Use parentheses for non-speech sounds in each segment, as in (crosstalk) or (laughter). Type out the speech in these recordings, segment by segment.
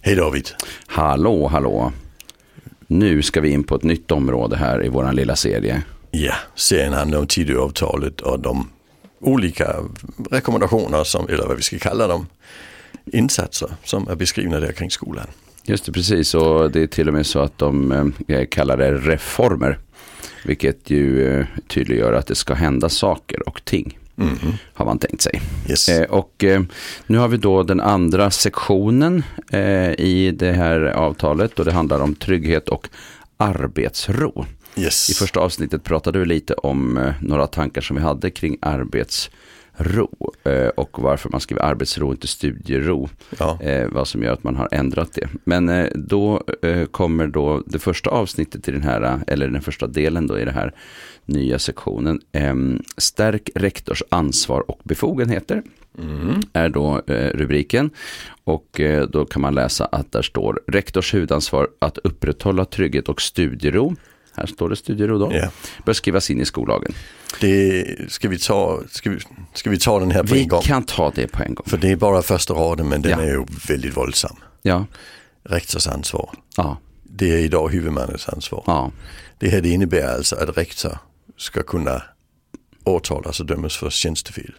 Hej David. Hallå, hallå. Nu ska vi in på ett nytt område här i vår lilla serie. Ja, serien handlar om Tidöavtalet och de olika rekommendationer, som, eller vad vi ska kalla dem, insatser som är beskrivna där kring skolan. Just det, precis. Och det är till och med så att de eh, kallar det reformer. Vilket ju eh, tydliggör att det ska hända saker och ting. Har man tänkt sig. Yes. Eh, Och eh, nu har vi då den andra sektionen eh, i det här avtalet. Och det handlar om trygghet och arbetsro. Yes. I första avsnittet pratade vi lite om eh, några tankar som vi hade kring arbetsro eh, och varför man skriver arbetsro, inte studiero. ja. Eh, vad som gör att man har ändrat det. Men eh, då eh, kommer då det första avsnittet i den här, eh, eller den första delen då i den här nya sektionen. Eh, stärk rektors ansvar och befogenheter Mm. är då eh, rubriken. Och eh, då kan man läsa att där står rektors huvudansvar att upprätthålla trygghet och studiero. Här står det studiero då. Ja. Bör skrivas in i skollagen. Det, ska, vi ta, ska, vi, ska vi ta den här på Vi en gång? kan ta det på en gång. För det är bara första raden men den Ja. är ju väldigt våldsam. Ja, Rektors ansvar. ja, Det är idag huvudmannens ansvar. ja. Det här det innebär alltså att rektor ska kunna åtalas och dömas för tjänstefel.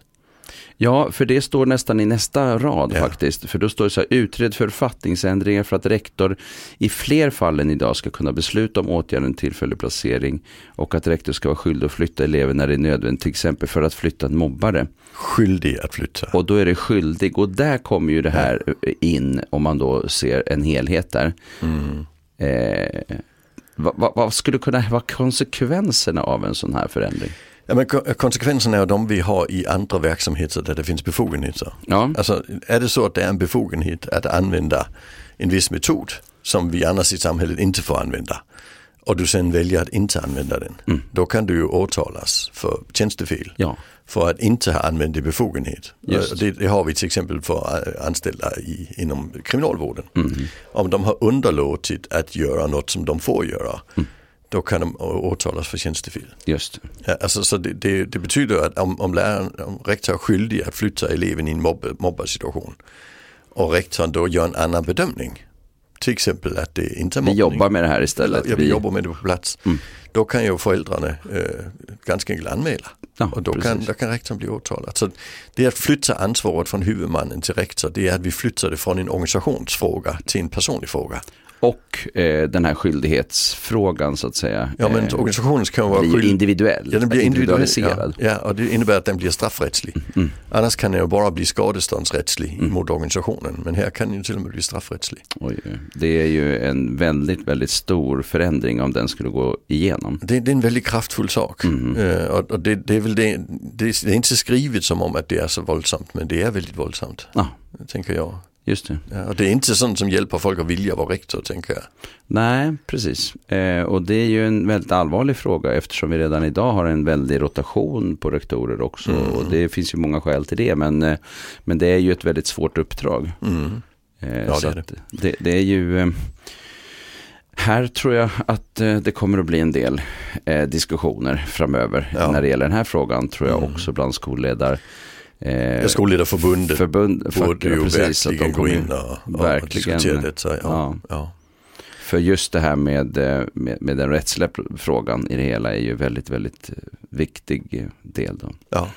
Ja, för det står nästan i nästa rad Ja. faktiskt. För då står det så här, utred författningsändringar för att rektor i fler fall än idag ska kunna besluta om åtgärden tillfällig placering och att rektor ska vara skyldig att flytta elever när det är nödvändigt, till exempel för att flytta en mobbare. Skyldig att flytta. Och då är det skyldig och där kommer ju det här in om man då ser en helhet där. Mm. Eh, vad, vad, vad skulle kunna vara konsekvenserna av en sån här förändring? Ja, men ko- konsekvenserna är de vi har i andra verksamheter där det finns befogenheter. Ja, Alltså är det så att det är en befogenhet att använda en viss metod som vi annars i samhället inte får använda och du sen väljer att inte använda den. Då kan du ju åtalas för tjänstefel. ja, för att inte ha använt det befogenhet. Just. Och Det, det har vi till exempel för eh, anställda i, inom kriminalvården. Om de har underlåtit att göra något som de får göra, då kan de å- åtalas för tjänstefel. just det. Ja, alltså, så det, det, det betyder att om, om, läraren, om rektor är skyldig att flytta eleven i en mobb, mobbarsituation och rektorn då gör en annan bedömning, till exempel att det inte är Vi mobbning. jobbar med det Mm. här istället. Eller, ja, vi, jobbar med det på plats. Då kan ju föräldrarna eh, ganska enkelt anmäla. Ja, och då kan, precis. då kan rektorn bli åtalad. Så det att flytta ansvaret från huvudmannen till rektor, det är att vi flyttar det från en organisationsfråga till en personlig fråga. Och eh, den här skyldighetsfrågan så att säga. Ja men eh, organisationen kan vara blir ju skyldig. individuell. Ja, den blir individualiserad. Mm, individuell. Ja, ja, och det innebär att den blir straffrättslig. Annars kan den ju bara bli skadeståndsrättslig mot organisationen. Men här kan den ju till och med bli straffrättslig. Oj, det är ju en väldigt, väldigt stor förändring om den skulle gå igenom. Det, det är en väldigt kraftfull sak. Mm, Eh, och och det, det är väl det, det, det är inte skrivet som om att det är så våldsamt, men det är väldigt våldsamt, Ja, tänker jag. just det. Ja, och det är inte sånt som hjälper folk att vilja vara rektor, tänker jag. Nej, precis. Eh, och det är ju en väldigt allvarlig fråga eftersom vi redan idag har en väldig rotation på rektorer också. Mm. Och det finns ju många skäl till det, men, eh, men det är ju ett väldigt svårt uppdrag. Mm. Eh, Ja, så det är att det, det är ju... Eh, här tror jag att eh, det kommer att bli en del eh, diskussioner framöver Ja. Mm. när det gäller den här frågan tror jag också bland skolledare. Eh, Ja, Skolledarförbundet förbund, fack, borde ja, ju precis, att verkligen de gå kommer in och, och verkligen. diskutera detta. Ja, Ja. ja. För just det här med, eh, med, med den rättsliga pr- frågan i det hela är ju väldigt, väldigt eh, viktig eh, del. Då. ja.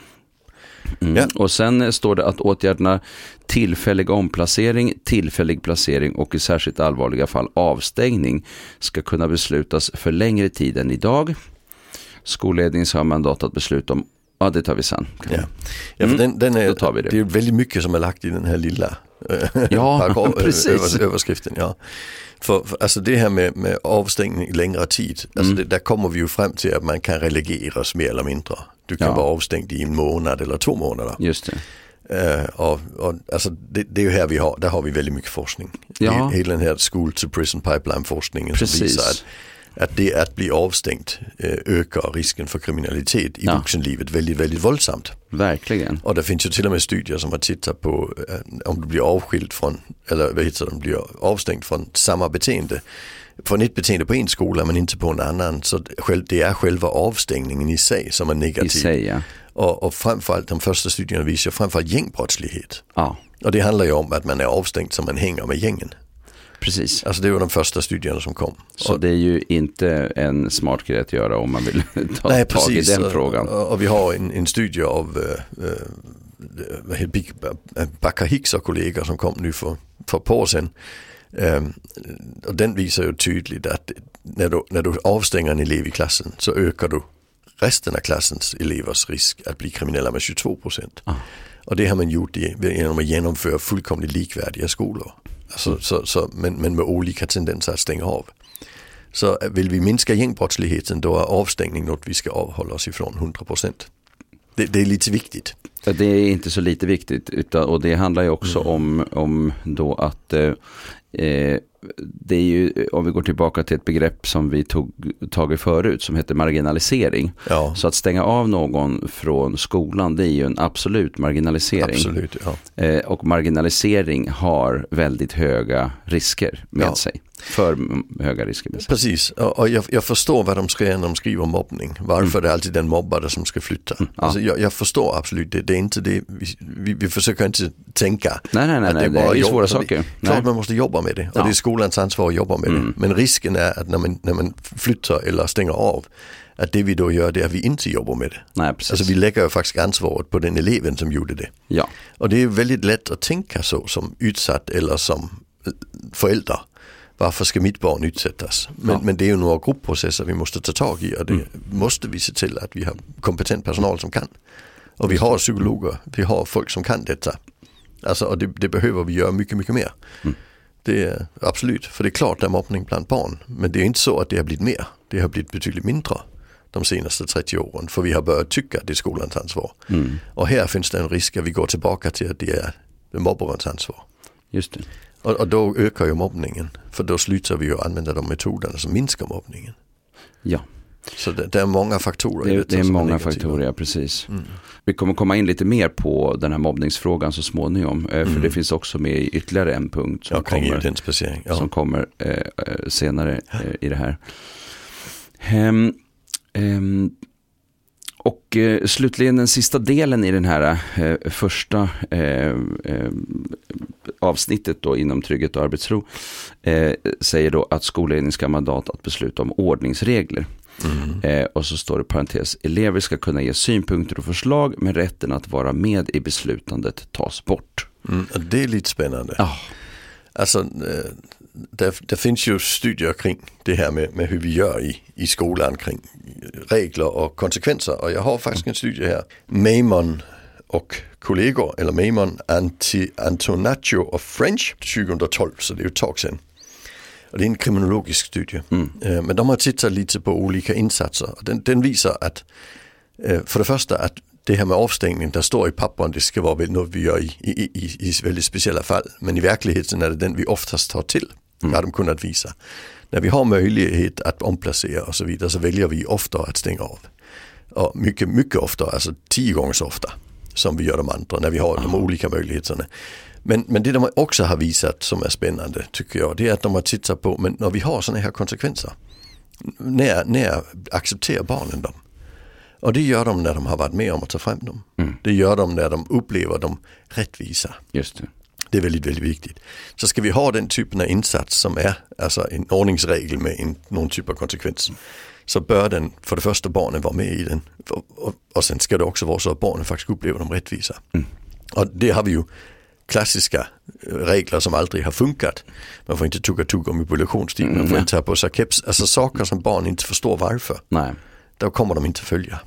Mm. Ja. Och sen eh, står det att åtgärderna tillfällig omplacering, tillfällig placering och i särskilt allvarliga fall avstängning ska kunna beslutas för längre tid än idag. Skolledningen har mandat att besluta om, ja det tar vi sen. Ja. Ja, för Mm, den, den är, då tar vi det. är väldigt mycket som är lagt i den här lilla eh, Ja, (laughs) paragraf- ö- (laughs) precis. övers- överskriften. Ja. För, för, alltså det här med, med avstängning längre tid, Mm. alltså det, där kommer vi ju fram till att man kan relegeras mer eller mindre. Du kan Ja. vara avstängd i en månad eller två månader. Just det. Eh, och, och, alltså det, det är ju här vi har, där har vi väldigt mycket forskning. Ja. Hela- Hela den här school to prison pipeline forskningen som Precis. visar att, att det att bli avstängd eh, ökar risken för kriminalitet i Ja. vuxenlivet väldigt, väldigt våldsamt. Verkligen. Och det finns ju till och med studier som har tittat på eh, om du blir avskild från, eller vad heter det, om du blir avstängd från samma beteende. Från ett beteende på en skola men inte på en annan. Så det- själv- det är själva avstängningen i sig som är I negativ. sig ja. Och, och framförallt de första studierna visar framförallt gängbrottslighet. ja. Och det handlar ju om att man är avstängd så man hänger med gängen. precis. Alltså det var de första studierna som kom. Så det är ju inte en smart grej att göra om man vill (laughs) ta Nej, tag precis. i den Och- frågan. Och, och vi har en, en studie av eh, eh, vad heter Big- eh, Backa Hicks och kollegor som kom nu för, för ett par år sedan. Ehm, och den visar ju tydligt att när du, när du avstänger en elev i klassen så ökar du resten av klassens elevers risk att bli kriminella med 22 procent. Ah. Och det har man gjort i, genom att genomföra fullkomligt likvärdiga skolor. Alltså, så, så, men, men med olika tendenser att stänga av. Så vill vi minska gängbrottsligheten då är avstängning något vi ska avhålla oss ifrån 100 procent. Det, det är lite viktigt. Ja, Det är inte så lite viktigt utan, och det handlar ju också Mm. om, om då att eh, eh, det är ju, om vi går tillbaka till ett begrepp som vi tog tag i förut som heter marginalisering. Ja, Så att stänga av någon från skolan det är ju en absolut marginalisering. absolut. Ja. Eh, och marginalisering har väldigt höga risker med Ja. sig. För m- höga risker med sig. Precis, och, och jag, jag förstår vad de skriver när de skriver om mobbning. Varför det är alltid den mobbade som ska flytta. Mm. ja. Alltså, jag, jag förstår absolut det. Det är inte det, vi, vi, vi försöker inte tänka. Nej, nej, nej, att nej det, bara är ju jobb. svåra Så det- saker. Nej. Klart man måste jobba med det och Ja. det är skolans ansvar att jobba med Mm. det. Men risken är att när man, när man flyttar eller stänger av, att det vi då gör det är att vi inte jobbar med det. nej, precis. Alltså vi lägger ju faktiskt ansvaret på den eleven som gjorde det. Ja, Och det är väldigt lätt att tänka så som utsatt eller som eh, förälder. Varför ska mitt barn utsättas? Men, Ja. men det är ju några gruppprocesser vi måste ta tag i och det måste vi se till att vi har kompetent personal som kan. Och vi har psykologer, vi har folk som kan detta. Alltså, och det, det behöver vi göra mycket, mycket mer. Mm. Det är absolut, för det är klart det är mobbning bland barn. Men det är inte så att det har blivit mer. Det har blivit betydligt mindre de senaste 30 åren. För vi har börjat tycka att det är skolans ansvar. mm. Och här finns det en risk att vi går tillbaka till att det är mobbarens ansvar. just det. Och, och då ökar ju mobbningen. För då slutar vi ju använda de metoderna som minskar mobbningen. Ja. Så det, det är många faktorer. i Det, detta det är som många negativa. faktorer, ja, precis. Mm. Vi kommer komma in lite mer på den här mobbningsfrågan så småningom. eh, För det finns också med i ytterligare en punkt som Ja, kring kommer, evidensbasering. Ja. som kommer eh, eh, senare eh, i det här. Ehm, ehm, och eh, slutligen den sista delen i den här eh, första eh, eh, avsnittet då inom trygghet och arbetsro eh, säger då att skolledningen ska ha mandat att besluta om ordningsregler. Mm. Eh, och så står det parentes, elever ska kunna ge synpunkter och förslag men rätten att vara med i beslutandet tas bort. Mm. Och det är lite spännande. Ja, Alltså, eh, det, det finns ju studier kring det här med, med hur vi gör i, i skolan kring regler och konsekvenser. Och jag har faktiskt en studie här. Maimon och kollegor, eller Maimon, Anti, Antonaccio och French 2012, så det är ju ett tag sedan. Och det är en kriminologisk studie. Eh, Men de har tittat lite på olika insatser. Och Den, den visar att Eh, För det första att det här med avstängning, där står i papperen det ska vara väl något vi gör i, i, i, i väldigt speciella fall. Men i verkligheten är det den vi oftast tar till, har de kunnat visa. När vi har möjlighet att omplacera och så vidare så väljer vi ofta att stänga av. Och mycket, mycket ofta, alltså tio gånger så ofta som vi gör de andra när vi har de olika möjligheterna. Men, men det de också har visat som är spännande tycker jag, det är att de har tittat på, men när vi har sådana här konsekvenser, när, när accepterar barnen dem? Och det gör de när de har varit med om att ta fram dem. Det gör de när de upplever dem rättvisa. just det. Det är väldigt, väldigt viktigt. Så ska vi ha den typen av insats som är alltså en ordningsregel med en, någon typ av konsekvens. Så bör den för det första barnen vara med i den. Och, och, och sen ska det också vara så att barnen faktiskt upplever dem rättvisa. Och det har vi ju klassiska eh, regler som aldrig har funkat. Man får inte tugga tuggummi på lektionstid, man får inte ta på sig keps. Alltså saker som barn inte förstår varför Nej. då kommer de inte följa.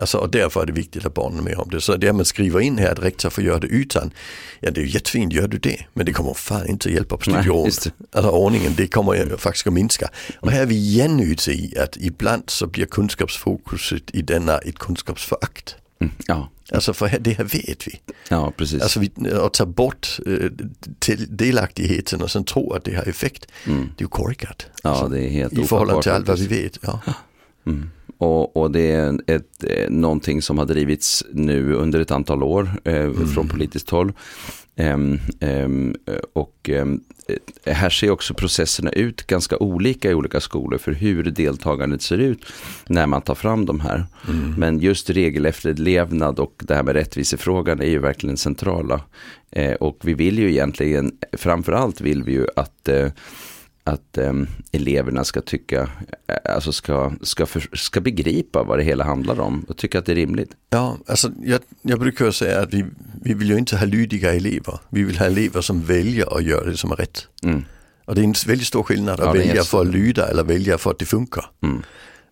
Alltså, och därför är det viktigt att barnen är med om det. Så det man skriver in här att rektor får göra det utan, ja det är ju jättefint, gör du det? Men det kommer fan inte hjälpa på Nej, studieordningen. just det. Alltså ordningen, det kommer ju faktiskt att minska. Och här är vi igen ute i att ibland så blir kunskapsfokuset i denna ett kunskapsförakt. Mm. Ja. Alltså för här- det här vet vi. ja, precis. Alltså vi, att ta bort eh, till- delaktigheten och sen tro att det har effekt, Mm. det är ju korkat. Ja, Alltså, det är helt I förhållande ofattbart till allt vad vi faktiskt. vet. Ja. Mm. Och, och det är ett, eh, någonting som har drivits nu under Mm. ett antal år eh, från politiskt håll. Ehm, ehm, eh, och ehm, eh, här ser också processerna ut ganska olika i olika skolor för hur deltagandet ser ut när man tar fram de här. Men just regelefterlevnad och det här med rättvisefrågan är ju verkligen centrala. Eh, och vi vill ju egentligen, framförallt vill vi ju att eh, att eh, eleverna ska tycka, eh, alltså ska, ska, för, ska begripa vad det hela handlar om och tycka att det är rimligt. Ja, alltså jag, jag brukar ju säga att vi, vi vill ju inte ha lydiga elever. Vi vill ha elever som väljer att göra det som är rätt. Mm. Och det är en väldigt stor skillnad att Ja, det är välja jättestor. för att lyda eller välja för att det funkar. Mm.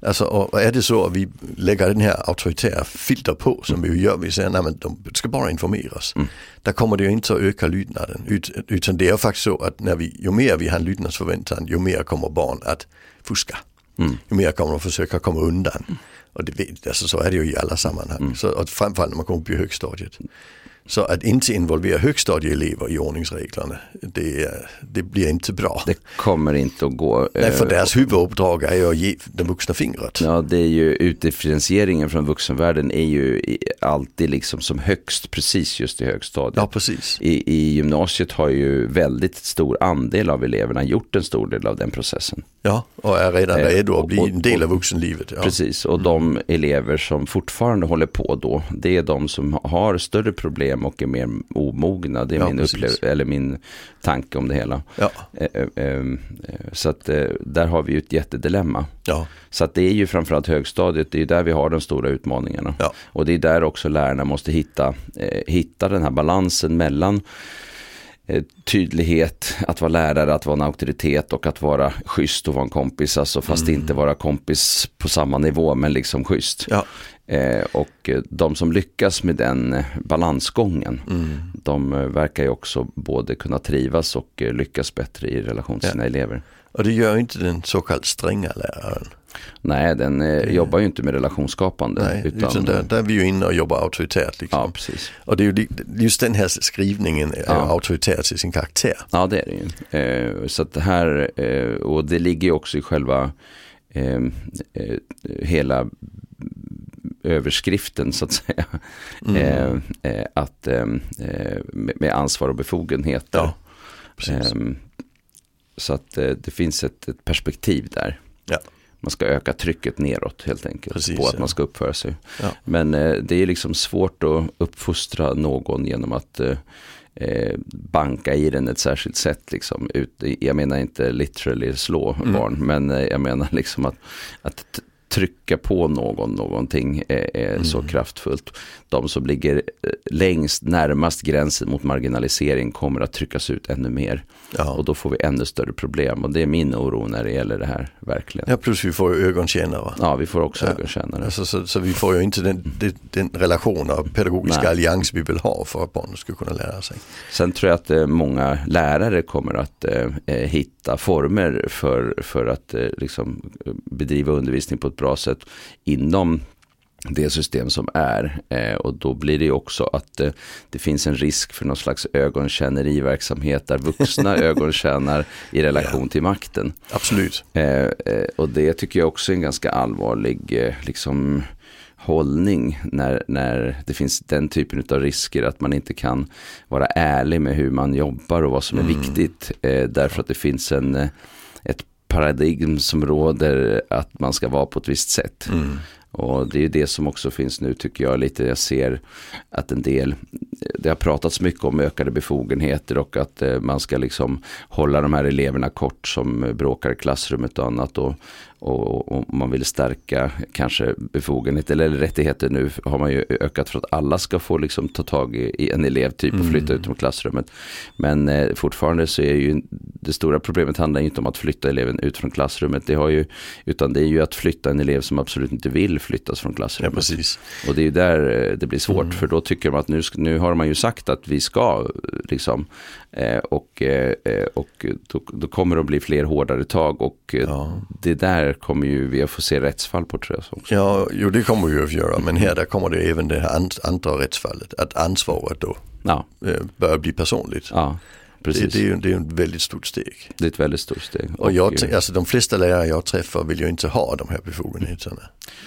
Alltså, och och är det så att vi lägger den här auktoritära filter på som vi ju gör, vi säger nej men de ska bara informeras. Mm. Där kommer det ju inte att öka lydnaden. Ut, utan det är faktiskt så att när vi, ju mer vi har en lydnadsförväntan, ju mer kommer barn att fuska. Mm. Ju mer kommer de försöka komma undan. Och det, vet- alltså, så är det ju i alla sammanhang. Mm. Så, och framförallt när man kommer upp i högstadiet. Så att inte involvera högstadieelever i ordningsreglerna, det, är- det blir inte bra. Det kommer inte att gå. Nej, eh, för deras huvuduppdrag är ju att ge den vuxna fingret. Ja, det är ju utdifferentieringen från vuxenvärlden är ju i- alltid liksom som högst precis just i högstadiet. Ja, precis. I, I gymnasiet har ju väldigt stor andel av eleverna gjort en stor del av den processen. Ja, och är redan Eh, redo att bli och- en del och- av vuxenlivet. Ja. Mm. Precis, och de elever som fortfarande håller på då, det är de som har större problem och är mer omogna. Det är Ja, min, precis. upplev- eller min tanke om det hela. Ja, Eh, eh, eh, Så att eh, där har vi ju ett jättedilemma. ja, Så att det är ju framförallt högstadiet, det är ju där vi har de stora utmaningarna. Ja. Och det är där också lärarna måste hitta, eh, hitta den här balansen mellan eh, tydlighet, att vara lärare, att vara en auktoritet och att vara schysst och vara en kompis. Alltså fast inte vara kompis på samma nivå men liksom schysst. Mm. ja, Eh, och eh, de som lyckas med den eh, balansgången, Mm. de eh, verkar ju också både kunna trivas och eh, lyckas bättre i relation till Ja. sina elever. och det gör inte den så kallt stränga läraren. Nej, den eh, jobbar ju inte med relationsskapande. Nej, utan, där, där är vi ju inne och jobbar auktoritärt. Liksom. Ja, precis. Och det är ju li- just den här skrivningen är Ja. auktoritär till sin karaktär. Ja, det är det ju. Eh, så att det här, eh, och det ligger ju också i själva eh, eh, hela överskriften så att säga. Mm. Eh, eh, att eh, eh, med med ansvar och befogenheter. Ja, precis. Ehm, så att eh, det finns ett, ett perspektiv där. Ja. Man ska öka trycket neråt helt enkelt Precis, på att ja. man ska uppföra sig. Ja. Men eh, det är liksom svårt att uppfostra någon genom att eh, eh, banka i den ett särskilt sätt. Liksom. Ut, jag menar inte literally slå Mm. barn, men eh, jag menar liksom att, att t- trycka på någon någonting är, är så Mm. kraftfullt. De som ligger eh, längst, närmast gränsen mot marginalisering kommer att tryckas ut ännu mer. Och ja. då får vi ännu större problem. Och det är min oro när det gäller det här, verkligen. Ja, ja, plus vi får ju ögonkännare. vi får också Ja. ögonkännare. Alltså, så, så vi får ju inte den, den, den relation och pedagogiska Nej. allians vi vill ha för att barnen ska kunna lära sig. Sen tror jag att eh, många lärare kommer att eh, eh, hitta former för, för att eh, liksom, eh, bedriva undervisning på ett bra sätt inom det system som är. Eh, och då blir det ju också att eh, det finns en risk för någon slags ögonkänneriverksamhet där (laughs) vuxna ögonkänner i relation till makten. Absolut. Eh, eh, och det tycker jag också är en ganska allvarlig eh, liksom, hållning när, när det finns den typen av risker att man inte kan vara ärlig med hur man jobbar och vad som är viktigt. Eh, därför att det finns en, eh, ett paradigm som råder att man ska vara på ett visst sätt. Och det är ju det som också finns nu tycker jag lite. Jag ser att en del, det har pratats mycket om ökade befogenheter och att eh, man ska liksom hålla de här eleverna kort som eh, bråkar i klassrummet och annat. Och, och, och man vill stärka kanske befogenheter eller rättigheter nu har man ju ökat för att alla ska få liksom ta tag i, i en elev typ och flytta ut ur klassrummet. Men eh, fortfarande så är ju det stora problemet handlar ju inte om att flytta eleven ut från klassrummet. Det har ju, utan det är ju att flytta en elev som absolut inte vill flyttas från Ja, klassrummet. precis. Och det är ju där eh, det blir Mm. svårt, för då tycker de att nu, sk- nu har man ju sagt att vi ska, eh, liksom, eh, och, eh, eh, och då, då kommer det att bli fler hårdare tag och eh, Ja. det där kommer ju vi att få se rättsfall på tror jag. så. Ja, jo det kommer vi ju att göra, men här där kommer det även det här an- andra rättsfallet, att ansvaret då Ja, eh, börjar bli personligt. ja, Det, precis. det, är ju, det är ju ett väldigt stort steg. Det är ett väldigt stort steg. Och jag, eh, tän- alltså, de flesta lärare jag träffar vill ju inte ha de här befogenheterna.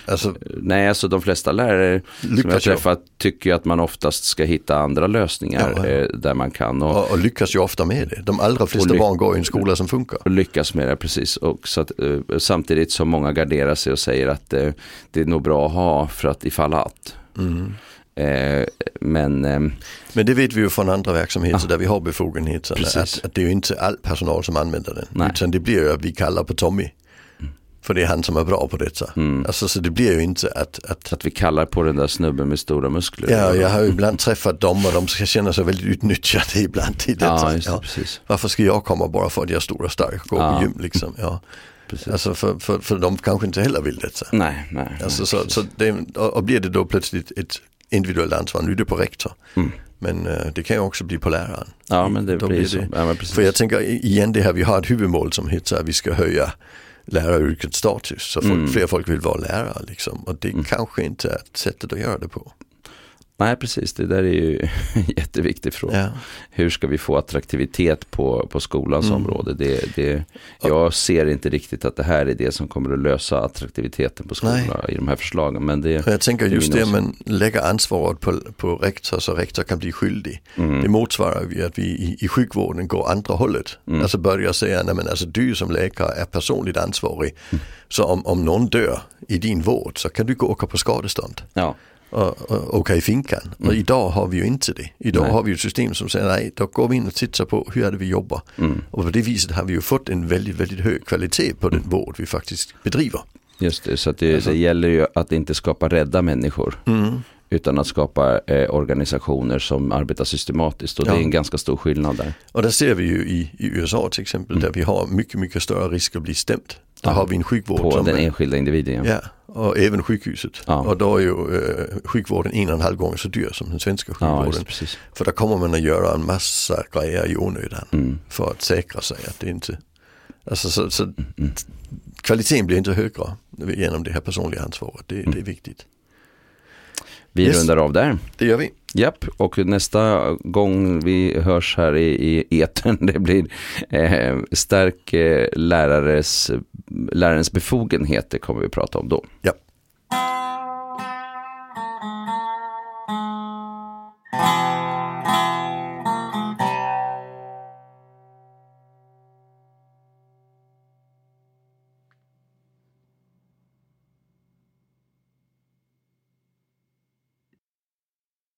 Alltså, Nej, alltså de flesta lärare som jag Lyckas jag. träffat tycker ju att man oftast ska hitta andra lösningar Ja, ja. eh, där man kan och, och, och lyckas ju ofta med det. De allra flesta Och ly- barn går i en skola som funkar. och lyckas med det, precis. Och så att, eh, samtidigt som många garderar sig och säger att eh, det är nog bra att ha för att ifall att. Mm. Eh, men ehm, Men det vet vi ju från andra verksamheter där vi har befogenheterna. Ah. Precis. Att, att det är ju inte all personal som använder den. Nej. Mm. Utan det blir ju att vi kallar på Tommy. För det är han som är bra på detta. Alltså, så det blir ju inte att, att att vi kallar på den där snubben med stora muskler. Ja, jag har ju ibland träffat dem och de ska känna sig väldigt utnyttjade (laughs) ibland i detta. Ja, just det, Ja. precis. Varför ska jag komma bara för att jag är stor och stark och gå Ja. på gym liksom? Ja. (laughs) precis. Alltså för, för, för de kanske inte heller vill detta. nej, nej. Alltså så, så det, och och blir det då plötsligt ett individuellt ansvar, nu är det på rektor. Mm. Men eh, det kan ju också bli på läraren. ja, men det då blir, blir så. det- Ja, men precis. För jag tänker i- igen det här, vi har ett huvudmål som heter att vi ska höja läraryrkets status. Så folk, Mm. fler folk vill vara lärare liksom. Och det kanske inte är sättet att göra det på. Nej, precis. Det där är ju (laughs) en jätteviktig fråga. Ja. hur ska vi få attraktivitet på, på skolans Mm. område? Det, det, jag ser inte riktigt att det här är det som kommer att lösa attraktiviteten på skolan i de här förslagen. Men Och det, jag tänker Det är just min det, man lägger ansvaret på, på rektor så rektor kan bli skyldig. Mm. Det motsvarar ju att vi i, i sjukvården går andra hållet. Mm. Alltså börjar säga, nej men alltså du som läkare är personligt ansvarig. Mm. Så om, om någon dör i din vård så kan du gå och åka på skadestånd ja, och, och åka i finkan. Och idag har vi ju inte det. Idag Mm. Nej. har vi ju ett system som säger nej, då går vi in och tittar på hur är det vi jobbar. Mm. Och på det viset har vi ju fått en väldigt, väldigt hög kvalitet på Mm. den vård vi faktiskt bedriver. just det. Så att det, det gäller ju att inte skapa rädda människor. Mm. Utan att skapa eh, organisationer som arbetar systematiskt. Och det Ja. är en ganska stor skillnad där. Och där ser vi ju i, i USA till exempel där vi har mycket, mycket större risk att bli stämd. Där Mm. Ja, har vi en sjukvård På som den är- enskilda individen. Ja. Ja, och även sjukhuset. Ja. Och då är ju eh, sjukvården en och en halv gång så dyr som den svenska Ja, just, sjukvården. det, precis. för där kommer man att göra en massa grejer i onödan Mm. för att säkra sig att det inte, alltså så, så kvaliteten blir inte högre genom det här personliga ansvaret. Det, det är viktigt. Vi Yes. rundar av där. Det gör vi. Japp, och nästa gång vi hörs här i, i etern, (laughs) det blir eh, stärk eh, lärares, lärarens befogenheter kommer vi prata om då. Ja.